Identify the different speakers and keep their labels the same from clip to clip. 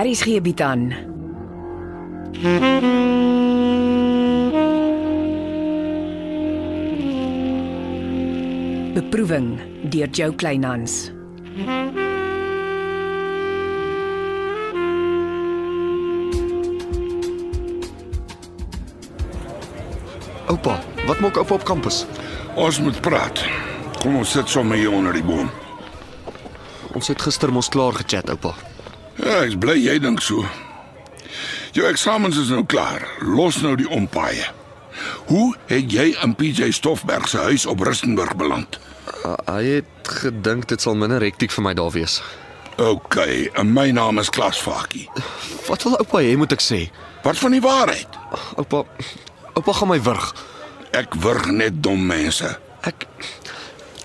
Speaker 1: Aries gee bied aan. Beproeving deur Jo Kleinhans.
Speaker 2: Oupa, wat maak oupa op kampus?
Speaker 3: Ons moet praat. Kom ons sit sommer hier onder die boom.
Speaker 2: Ons het gister mos klaar gechat, oupa.
Speaker 3: Ja, ek is bly jy dink so. Jou eksamens is nou klaar. Los nou die ompaaie. Hoe het jy in PJ Stoffberg se huis op Rustenburg beland?
Speaker 2: Uh, hy het gedink dit sal minder hektiek vir my daar wees.
Speaker 3: OK, en my naam is Klas Vakie.
Speaker 2: Wat wil oupa hê moet ek sê?
Speaker 3: Wat van die waarheid?
Speaker 2: Oupa, oupa gaan my wurg.
Speaker 3: Ek wurg net dom mense.
Speaker 2: Ek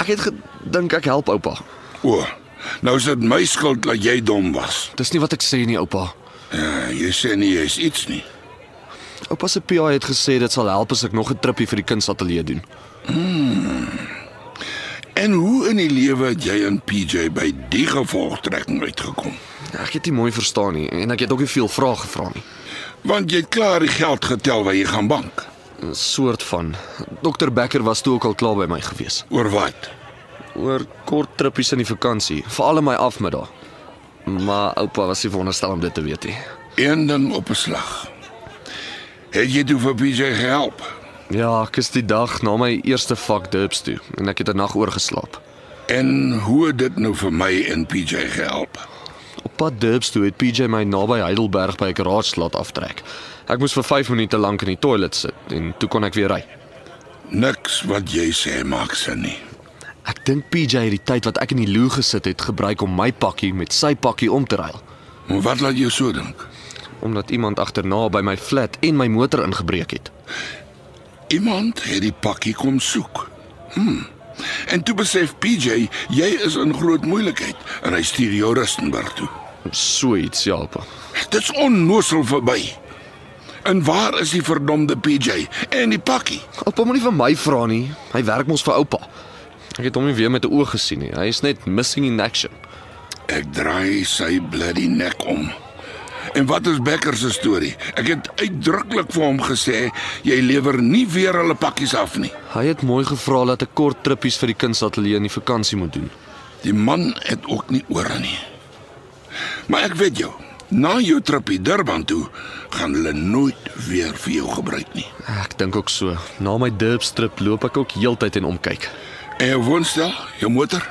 Speaker 2: ek het gedink ek help oupa.
Speaker 3: O, nou is dit my skuld dat jy dom was.
Speaker 2: Dis nie wat ek sê nie, oupa.
Speaker 3: Ja, jy sê nie jy's iets nie.
Speaker 2: Oupa se PA het gesê dit sal help as ek nog 'n trippie vir die kunsateljee doen.
Speaker 3: En e hoe in die lewe het jy in PJ by die gevolgtrekking uitgekom?
Speaker 2: Ek het dit mooi verstaan nie en ek het ook nie veel vrae gevra nie.
Speaker 3: Want jy het klaar die geld getel wat jy gaan bank.
Speaker 2: 'n Soort van. Dr Becker was toe ook al klaar by my gewees.
Speaker 3: Oor wat?
Speaker 2: Oor kort trippies in die vakansie, veral in my afmiddag. Maar oupa was nie veronderstel om dit te weet nie.
Speaker 3: Een ding op 'n slag. Het jy toe vir PJ gehelp?
Speaker 2: Ja, ek is die dag na my eerste vak derps toe en ek het 'n nag oorgeslaap.
Speaker 3: En hoe het dit nou vir my en PJ gehelp?
Speaker 2: Op pad derps toe het PJ my naby Heidelberg by 'n garage laat aftrek. Ek moes vir 5 minute lank in die toilet sit en toe kon ek weer ry.
Speaker 3: Niks wat jy sê maak sin nie.
Speaker 2: Ek dink PJ het die tyd wat ek in die loo gesit het gebruik om my pakkie met sy pakkie om te ruil,
Speaker 3: Maar wat laat jou so dink?
Speaker 2: omdat iemand agterna by my flat en my motor ingebreek het.
Speaker 3: Iemand het die pakkie kom soek. Hm. En toe besef PJ jy is in groot moeilikheid en hy stuur jou Rustenburg toe.
Speaker 2: So iets, ja, pa.
Speaker 3: Dit's onnosel verby. En waar is die verdomde PJ en die pakkie?
Speaker 2: Oupa moenie vir my vra nie. Hy werk mos vir oupa. Ek het hom nie weer met 'n oog gesien nie. Hy is net missing in action.
Speaker 3: Ek draai sy bloody nek om. En wat is Becker se storie? Ek het uitdruklik vir hom gesê jy lewer nie weer hulle pakkies af nie.
Speaker 2: Hy het mooi gevra dat ek kort trippies vir die kunsateljee in die vakansie moet doen.
Speaker 3: Die man het ook nie ore nie. Maar ek weet jou, na jou tripie Durban toe gaan hulle nooit weer vir jou gebruik nie.
Speaker 2: Ek dink ook so. Na my derps trip loop ek ook heeltyd en omkyk.
Speaker 3: En jou woonstel, jou motor?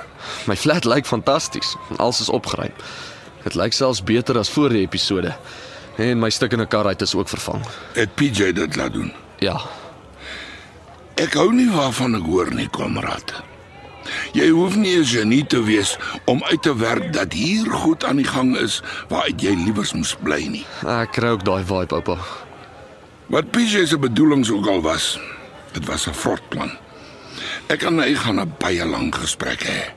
Speaker 2: My flat lyk fantasties. Alles is opgeruim. Dit lyk selfs beter as voor die episode. En my stuk in 'n kar uit is ook vervang.
Speaker 3: Het PJ dit laat doen?
Speaker 2: Ja,
Speaker 3: Ek hou nie waarvan ek hoor nie, kameraad. Jy hoef nie 'n genie te wees om uit te werk dat hier goed aan die gang is waaruit jy liewers moes bly nie.
Speaker 2: ek kry ook daai vibe, oupa.
Speaker 3: Wat PJ se bedoelings ook al was, dit was 'n vrot plan. Ek en hy gaan 'n baie lang gesprek hê.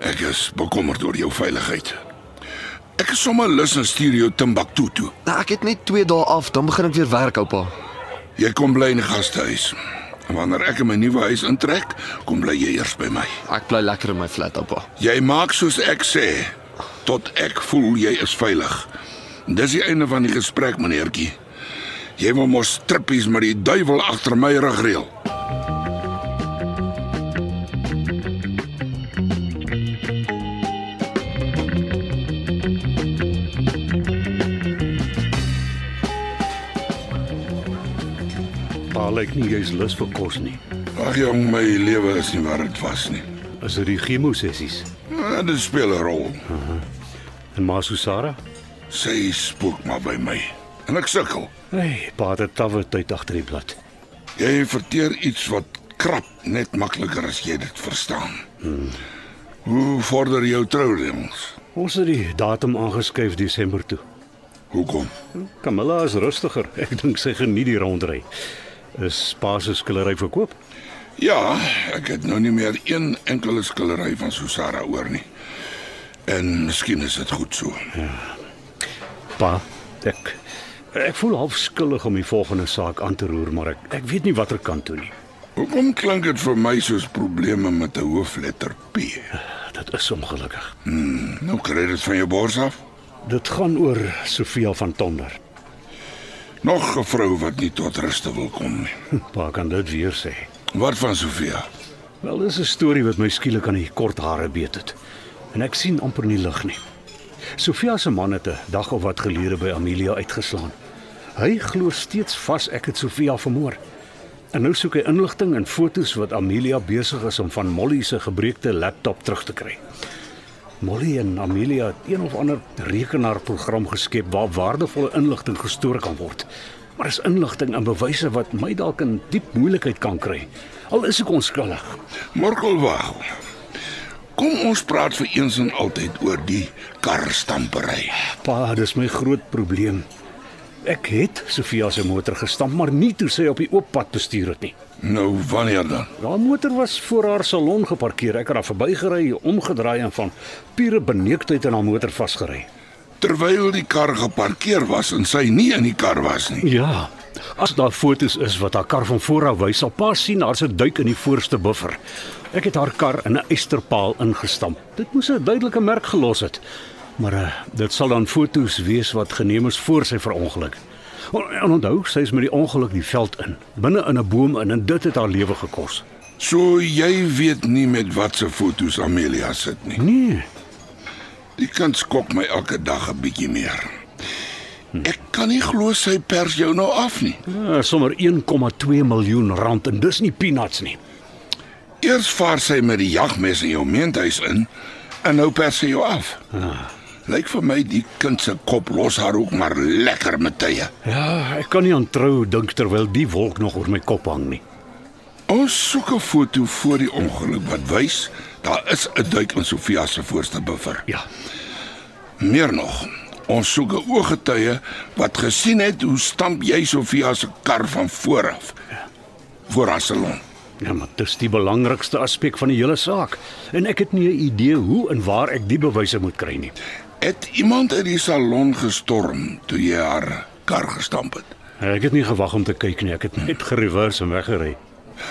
Speaker 3: Ek is bekommerd oor jou veiligheid. Ek is sommer lus en stuur jou Timbuktu toe.
Speaker 2: Nou, ek het net 2 dae af, dan begin ek weer werk, oupa.
Speaker 3: Jy kom bly in die gastehuis. En wanneer ek in my nuwe huis intrek, kom bly jy eers by my.
Speaker 2: Ek bly lekker in my flat, oupa.
Speaker 3: Jy maak soos ek sê tot ek voel jy is veilig. Dis die einde van die gesprek, meneertjie. Jy wil mos trippies met die duiwel agter my rug reël.
Speaker 4: Pa lyk nie jy's lus vir kos nie.
Speaker 3: Ag jong, my lewe is nie wat dit was nie.
Speaker 4: Is dit die chemo sessies?
Speaker 3: Ja, dit speel 'n rol.
Speaker 4: En ma Susara?
Speaker 3: Sy spook maar by my. En ek sukkel.
Speaker 4: Hey, pa het 'n tawwe tyd agter die blad.
Speaker 3: Jy verteer iets wat krap net makliker as jy dit verstaan. Hoe vorder jou troureëls?
Speaker 4: Ons het die datum aangeskuif Desember toe.
Speaker 3: Hoekom?
Speaker 4: Camilla is rustiger. Ek dink sy geniet die rondry. Is pa se skillery verkoop?
Speaker 3: Ja, ek het nou nie meer een enkele skildery van Susara oor nie. En miskien is dit goed so.
Speaker 4: Pa, ek ek voel half skuldig om die volgende saak aan te roer, maar ek ek weet nie watter kant toe nie.
Speaker 3: Hoekom klink dit vir my soos probleme met 'n hoofletter P?
Speaker 4: Dit is ongelukkig.
Speaker 3: Nou kry dit van jou bors af.
Speaker 4: Dit gaan oor Sofia van Tonder.
Speaker 3: Nog 'n vrou wat nie tot rus wil kom nie.
Speaker 4: Pa kan dit weer sê.
Speaker 3: Wat van Sofia?
Speaker 4: Wel, dis 'n storie wat my skielik aan die kort hare beet het. En ek sien amper nie lig nie. Sofia se man het 'n dag of wat gelede by Amelia uitgeslaan. Hy glo steeds vas ek het Sofia vermoor. En nou soek hy inligting en fotos wat Amelia besig is om van Molly se gebreekte laptop terug te kry. Molly en Amelia het een of ander rekenaarprogram geskep waar waardevolle inligting gestoor kan word. Maar is inligting en bewyse wat my dalk in diep moeilikheid kan kry. Al is ek onskuldig.
Speaker 3: Morkelwag. Kom ons praat vir eens en altyd oor die karstampery.
Speaker 4: Pa, dis my groot probleem. Ek het Sofia se motor gestamp, maar nie toe sy op die oop pad bestuur het nie.
Speaker 3: Nou wanneer dan?
Speaker 4: Haar motor was voor haar salon geparkeer. Ek het haar verbygery, omgedraai en van pure beneuktheid aan haar motor vasgery.
Speaker 3: Terwyl die kar geparkeer was en sy nie in die kar was nie.
Speaker 4: Ja. As daar fotos is wat haar kar van voor af wys, sal pa sien haar se duik in die voorste buffer. Ek het haar kar in 'n eysterpaal ingestamp. Dit moes 'n duidelike merk gelos het. Maar uh, dit sal dan fotos wees wat geneem is voor sy verongeluk. O- En onthou, sy is met die ongeluk die veld in, binne in 'n boom in en dit het haar lewe gekos.
Speaker 3: So jy weet nie met watse fotos Amelia sit nie.
Speaker 4: Nee,
Speaker 3: Die kind skok my elke dag 'n bietjie meer. Ek kan nie glo sy pers jou nou af nie.
Speaker 4: uh, sommer 1,2 miljoen rand en dis nie peanuts nie.
Speaker 3: Eers vaar sy met die jagmes in jou meentuis in en nou pers sy jou af. Lyk vir my die kind se kop los haar ook maar lekker met tye.
Speaker 4: Ja, ek kan nie aan trou dink terwyl die wolk nog oor my kop hang nie.
Speaker 3: Ons soek 'n foto voor die ongeluk wat wys daar is 'n duik in Sofia se voorste buffer.
Speaker 4: Ja,
Speaker 3: Meer nog, ons soek 'n ooggetuie wat gesien het hoe stamp jy Sofia se kar van voor af voor haar salon.
Speaker 4: Ja, maar dis die belangrikste aspek van die hele saak. En ek het nie 'n idee hoe en waar ek die bewyse moet kry nie.
Speaker 3: Het iemand uit die salon gestorm toe jy haar kar gestamp het?
Speaker 4: Ek het nie gewag om te kyk nie. Ek het net gerewers en weggery.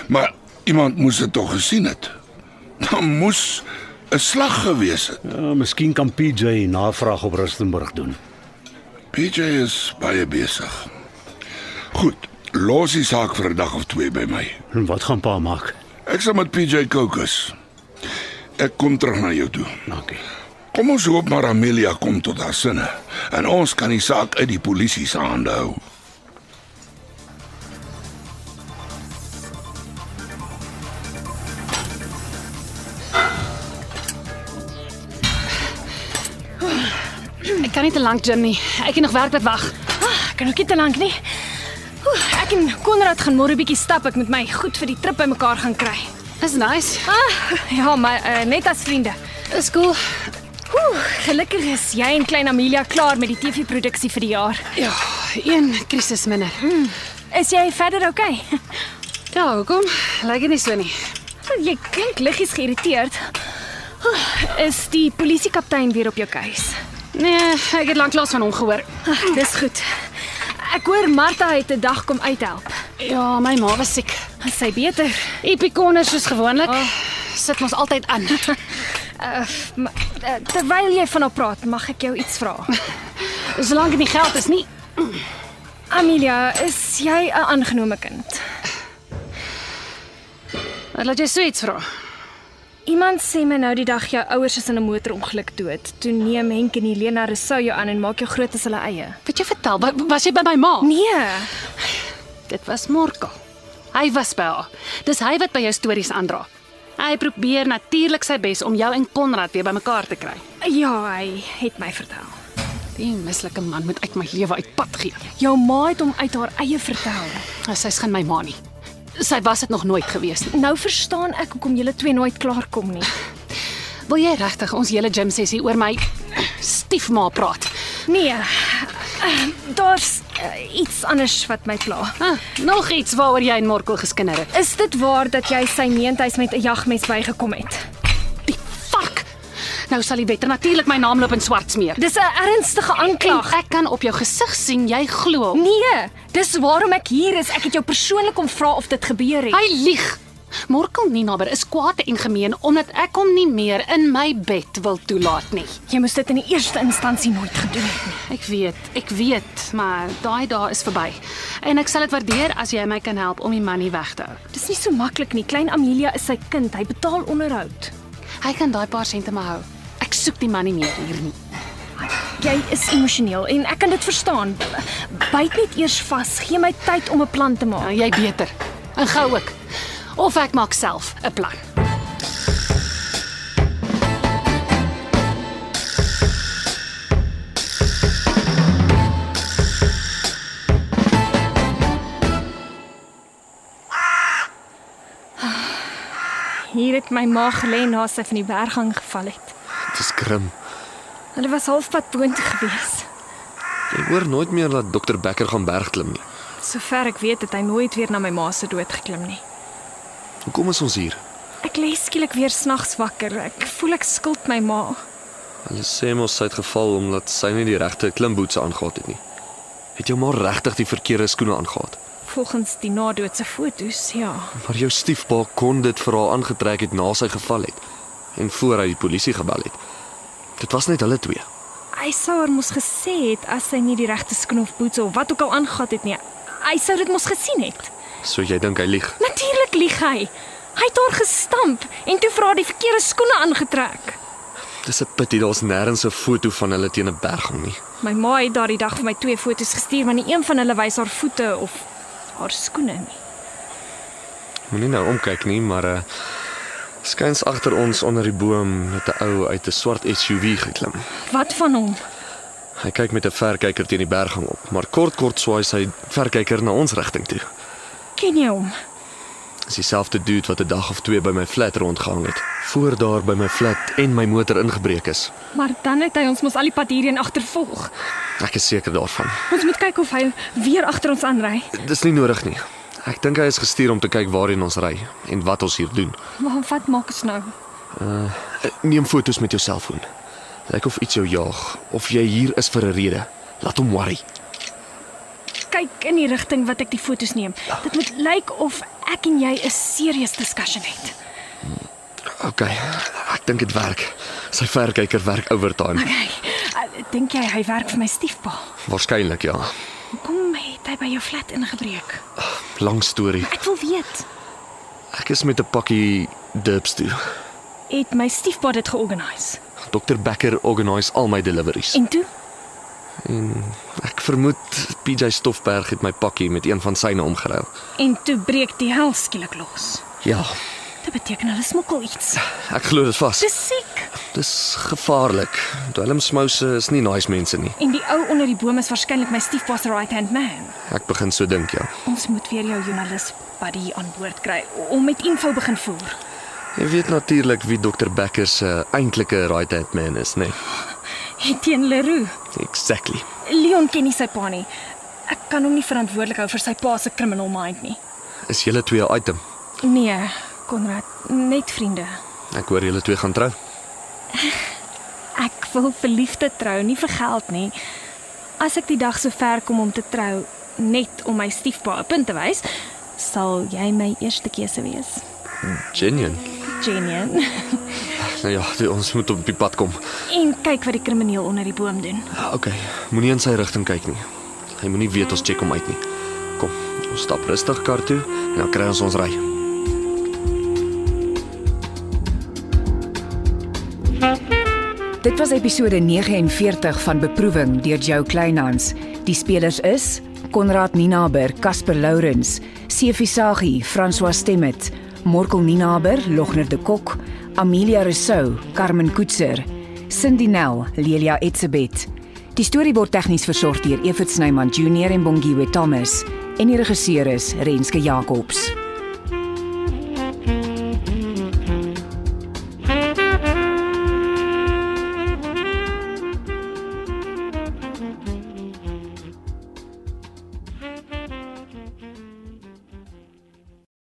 Speaker 3: Maar iemand moes dit tog gesien het. Daar moes 'n slag gewees het.
Speaker 4: Ja, miskien kan PJ navraag op Rustenburg doen.
Speaker 3: PJ is baie besig. Goed, los die saak vir 'n dag of twee by my.
Speaker 4: En wat gaan pa maak?
Speaker 3: Ek sal met PJ Kokos. Ek kom terug na jou toe.
Speaker 4: Dankie.
Speaker 3: Kom ons hoop maar Amelia kom tot haar sinne en ons kan die saak uit die polisie se hande hou.
Speaker 5: Ek kan nie te lank gym nie. Ek het nog werk wat wag.
Speaker 6: Ah, Ek kan ook nie te lank nie. Oeh, ek en Konrad gaan môre bietjie stap. Ek moet my goed vir die trip bymekaar gaan kry.
Speaker 5: Is nice.
Speaker 6: Ah, ja, maar uh, net as vriende.
Speaker 5: Is cool.
Speaker 6: Oeh, gelukkig is jy en klein Amelia klaar met die TV-produksie vir die jaar.
Speaker 5: Ja, een krisis minder. Hm?
Speaker 6: Is jy verder oukei?
Speaker 5: Ja, hoekom? Lyk dit nie so nie.
Speaker 6: jy klink liggies geïrriteerd. Oeh, is die polisiekaptein weer op jou keus?
Speaker 5: Nee, ek het lanklaas van hom gehoor.
Speaker 6: Ah, dis goed. Ek hoor Martha het 'n dag kom uithelp.
Speaker 5: Ja, my ma was siek.
Speaker 6: Is sy beter?
Speaker 5: Epikoners soos gewoonlik.
Speaker 6: Ah.
Speaker 5: Oh. Sit ons altyd aan.
Speaker 6: Uh, ma- uh, terwyl jy van haar praat, mag ek jou iets vra?
Speaker 5: Solank dit nie geld is nie.
Speaker 6: Amelia, is jy 'n aangenome kind?
Speaker 5: Wat laat jy so iets vra?
Speaker 6: Iemand sê my nou die dag jou ouers is in 'n motorongeluk dood. Toe neem Henk en Helena Rousseau jou aan en maak jou groot as hulle eie.
Speaker 5: Wat jy vertel? Wa- Was jy by my ma?
Speaker 6: Nee,
Speaker 5: Dit was Morkel. Hy was by haar. Dis hy wat by jou stories aandra. Hy probeer natuurlik sy bes om jou en Konrad weer bymekaar te kry.
Speaker 6: ja, hy het my vertel.
Speaker 5: Die mislike man moet uit my lewe uitpad gee.
Speaker 6: Jou ma het hom uit haar eie vertel.
Speaker 5: Sy skyn my ma nie. Sy was dit nog nooit gewees nie.
Speaker 6: Nou verstaan ek hoekom julle twee nooit klaarkom nie.
Speaker 5: Wil jy regtig ons hele gym sessie oor my stiefma praat?
Speaker 6: Nee. eh, Daar's eh, iets anders wat my pla.
Speaker 5: Ah, nog iets waaroor jy en Morkel geskinder het.
Speaker 6: Is dit waar dat jy sy meentuis met 'n jagmes bygekom het?
Speaker 5: Die fuck. Nou sal die wetter natuurlik my naam loop in swart smeer.
Speaker 6: Dis 'n ernstige aanklag.
Speaker 5: En ek kan op jou gesig sien jy glo. hom.
Speaker 6: Nee, dis waarom ek hier is. Ek het jou persoonlik om vra of dit gebeur het.
Speaker 5: Hy lieg. Morkel Ninaber is kwaad en gemeen omdat ek hom nie meer in my bed wil toelaat nie.
Speaker 6: Jy moes dit in die eerste instansie nooit gedoen het nie.
Speaker 5: Ek weet, ek weet, maar daai dae is verby. En ek sal dit waardeer as jy my kan help om die manie weg te hou.
Speaker 6: Dis nie so maklik nie. Klein Amelia is sy kind. Hy betaal onderhoud.
Speaker 5: Hy kan daai paar sente maar hou. Ek soek die manie meer hier nie.
Speaker 6: Jy is emosioneel en ek kan dit verstaan. Byt net eers vas. Gee my tyd om 'n plan te maak.
Speaker 5: Nou jy beter. En gou ook. Of ek maak self 'n plan.
Speaker 6: Nou, Hier het my ma gelê na sy van die berggang geval het.
Speaker 2: Dit is krim.
Speaker 6: Hulle was halfpad boontoe gewees.
Speaker 2: Jy hoor nooit meer dat dokter Becker gaan bergklim nie.
Speaker 6: Sover ek weet het hy nooit weer na my ma se dood geklim nie.
Speaker 2: Hoekom is ons hier?
Speaker 6: Ek lê skielik weer snags wakker. Ek voel ek skuld my ma.
Speaker 2: Hulle sê mos sy het geval omdat sy nie die regte klimboetse aangehad het nie. Het jou maar regtig die verkeerde skoene aangehad.
Speaker 6: Volgens die nadoodse fotos, ja.
Speaker 2: Maar jou stiefpa kon dit vir haar aangetrek het na sy geval het en voor hy die polisie gebel het. Dit was net hulle twee.
Speaker 6: Hy sou haar mos gesê het as sy nie die regte skoen of boete of wat ook al aangetree het nie. Hy sou dit mos gesien het.
Speaker 2: So jy dink hy lieg.
Speaker 6: Natuurlik lieg hy. Hy het haar gestamp en toe vra die verkeerde skoene aangetrek.
Speaker 2: Dis 'n pity daar's nêrens 'n foto van hulle teen 'n berg hang nie.
Speaker 6: My ma het daardie dag vir my twee foto's gestuur, maar nie een van hulle wys haar voete of haar skoene nie.
Speaker 2: Moenie nou omkyk nie, maar uh skuins agter ons onder die boom met 'n ou uit 'n swart SUV geklim.
Speaker 6: Wat van hom?
Speaker 2: Hy kyk met 'n verkyker teen die berg hang op, maar kort kort swaai sy verkyker na ons rigting toe.
Speaker 6: Ken jy hom?
Speaker 2: Dis dieselfde dude wat 'n dag of twee by my flat rondgehang het, voor daar by my flat en my motor ingebreek is.
Speaker 6: Maar dan het hy ons mos al die pad hierheen agtervolg.
Speaker 2: Ek is seker daarvan.
Speaker 6: Ons moet kyk of hy weer agter ons aanry.
Speaker 2: Dis nie nodig nie. Ek dink hy is gestuur om te kyk waarheen ons ry en wat ons hier doen.
Speaker 6: Maar wat maak ons nou?
Speaker 2: Neem foto's met jou selfoon. Lyk of iets jou jaag of jy hier is vir 'n rede. Laat hom worry.
Speaker 6: Kyk in die rigting wat ek die fotos neem. Dit moet lyk of ek en jy 'n serious discussion het.
Speaker 2: OK. Ek dink dit werk. Sy verkyker werk overtime.
Speaker 6: Okay. uh, Dink jy hy werk vir my stiefpa?
Speaker 2: Waarskynlik ja.
Speaker 6: Hoekom het hy by jou flat ingebreek?
Speaker 2: Lang storie.
Speaker 6: Ek wil weet.
Speaker 2: Ek is met 'n pakkie dubs toe.
Speaker 6: Het my stiefpa dit georganiseer?
Speaker 2: Dr Becker organise al my deliveries.
Speaker 6: En toe?
Speaker 2: Ek vermoed PJ Stoffberg het my pakkie met een van syne omgeruil.
Speaker 6: En toe breek die hel skielik los.
Speaker 2: Ja,
Speaker 6: Dit beteken hulle smokkel iets.
Speaker 2: ek glo dit vas.
Speaker 6: Dis siek.
Speaker 2: Dis gevaarlik. Dwelmsmouse is nie nice mense nie.
Speaker 6: En die ou onder die boom is waarskynlik my stiefpa se right-hand man.
Speaker 2: Ek begin so dink ja.
Speaker 6: Ons moet weer jou joernalis buddy aan boord kry om met info begin voer.
Speaker 2: Jy weet natuurlik wie Dr Becker se eintlike right-hand man is, né? Nee?
Speaker 6: Etienne Leroux.
Speaker 2: Exactly.
Speaker 6: Leon ken nie sy pa nie. Ek kan hom nie verantwoordelik hou vir sy pa se criminal mind nie.
Speaker 2: Is julle twee 'n item?
Speaker 6: Nee, Konrad, net vriende.
Speaker 2: Ek hoor julle twee gaan trou.
Speaker 6: Ek wil verliefde trou, nie vir geld nie. As ek die dag so ver kom om te trou, net om my stiefpa 'n punt te wys, sal jy my eerste keuse wees.
Speaker 2: Genien.
Speaker 6: Genian.
Speaker 2: Nou ja, die, ons moet op die pad kom.
Speaker 6: En kyk wat die krimineel onder die boom doen.
Speaker 2: OK, Ah, moenie in sy rigting kyk nie. Hy moenie weet ons check hom uit nie. Kom, ons stap rustig kar toe en dan kry ons ons ry.
Speaker 1: Dit was episode 49 van Beproewing deur Jo Kleinhans. Die spelers is Konrad Ninaber, Casper Lourens, Sefisagi, François Stemmet, Morkel Ninaber, Logner de Kok, Amelia Rousseau, Carmen Koetser, Cindy Nel, Lelia Etsebet. Die storie word tegnies versorg deur Evert Snyman Junior en Bongwe Thomas en die regisseur is Renske Jacobs.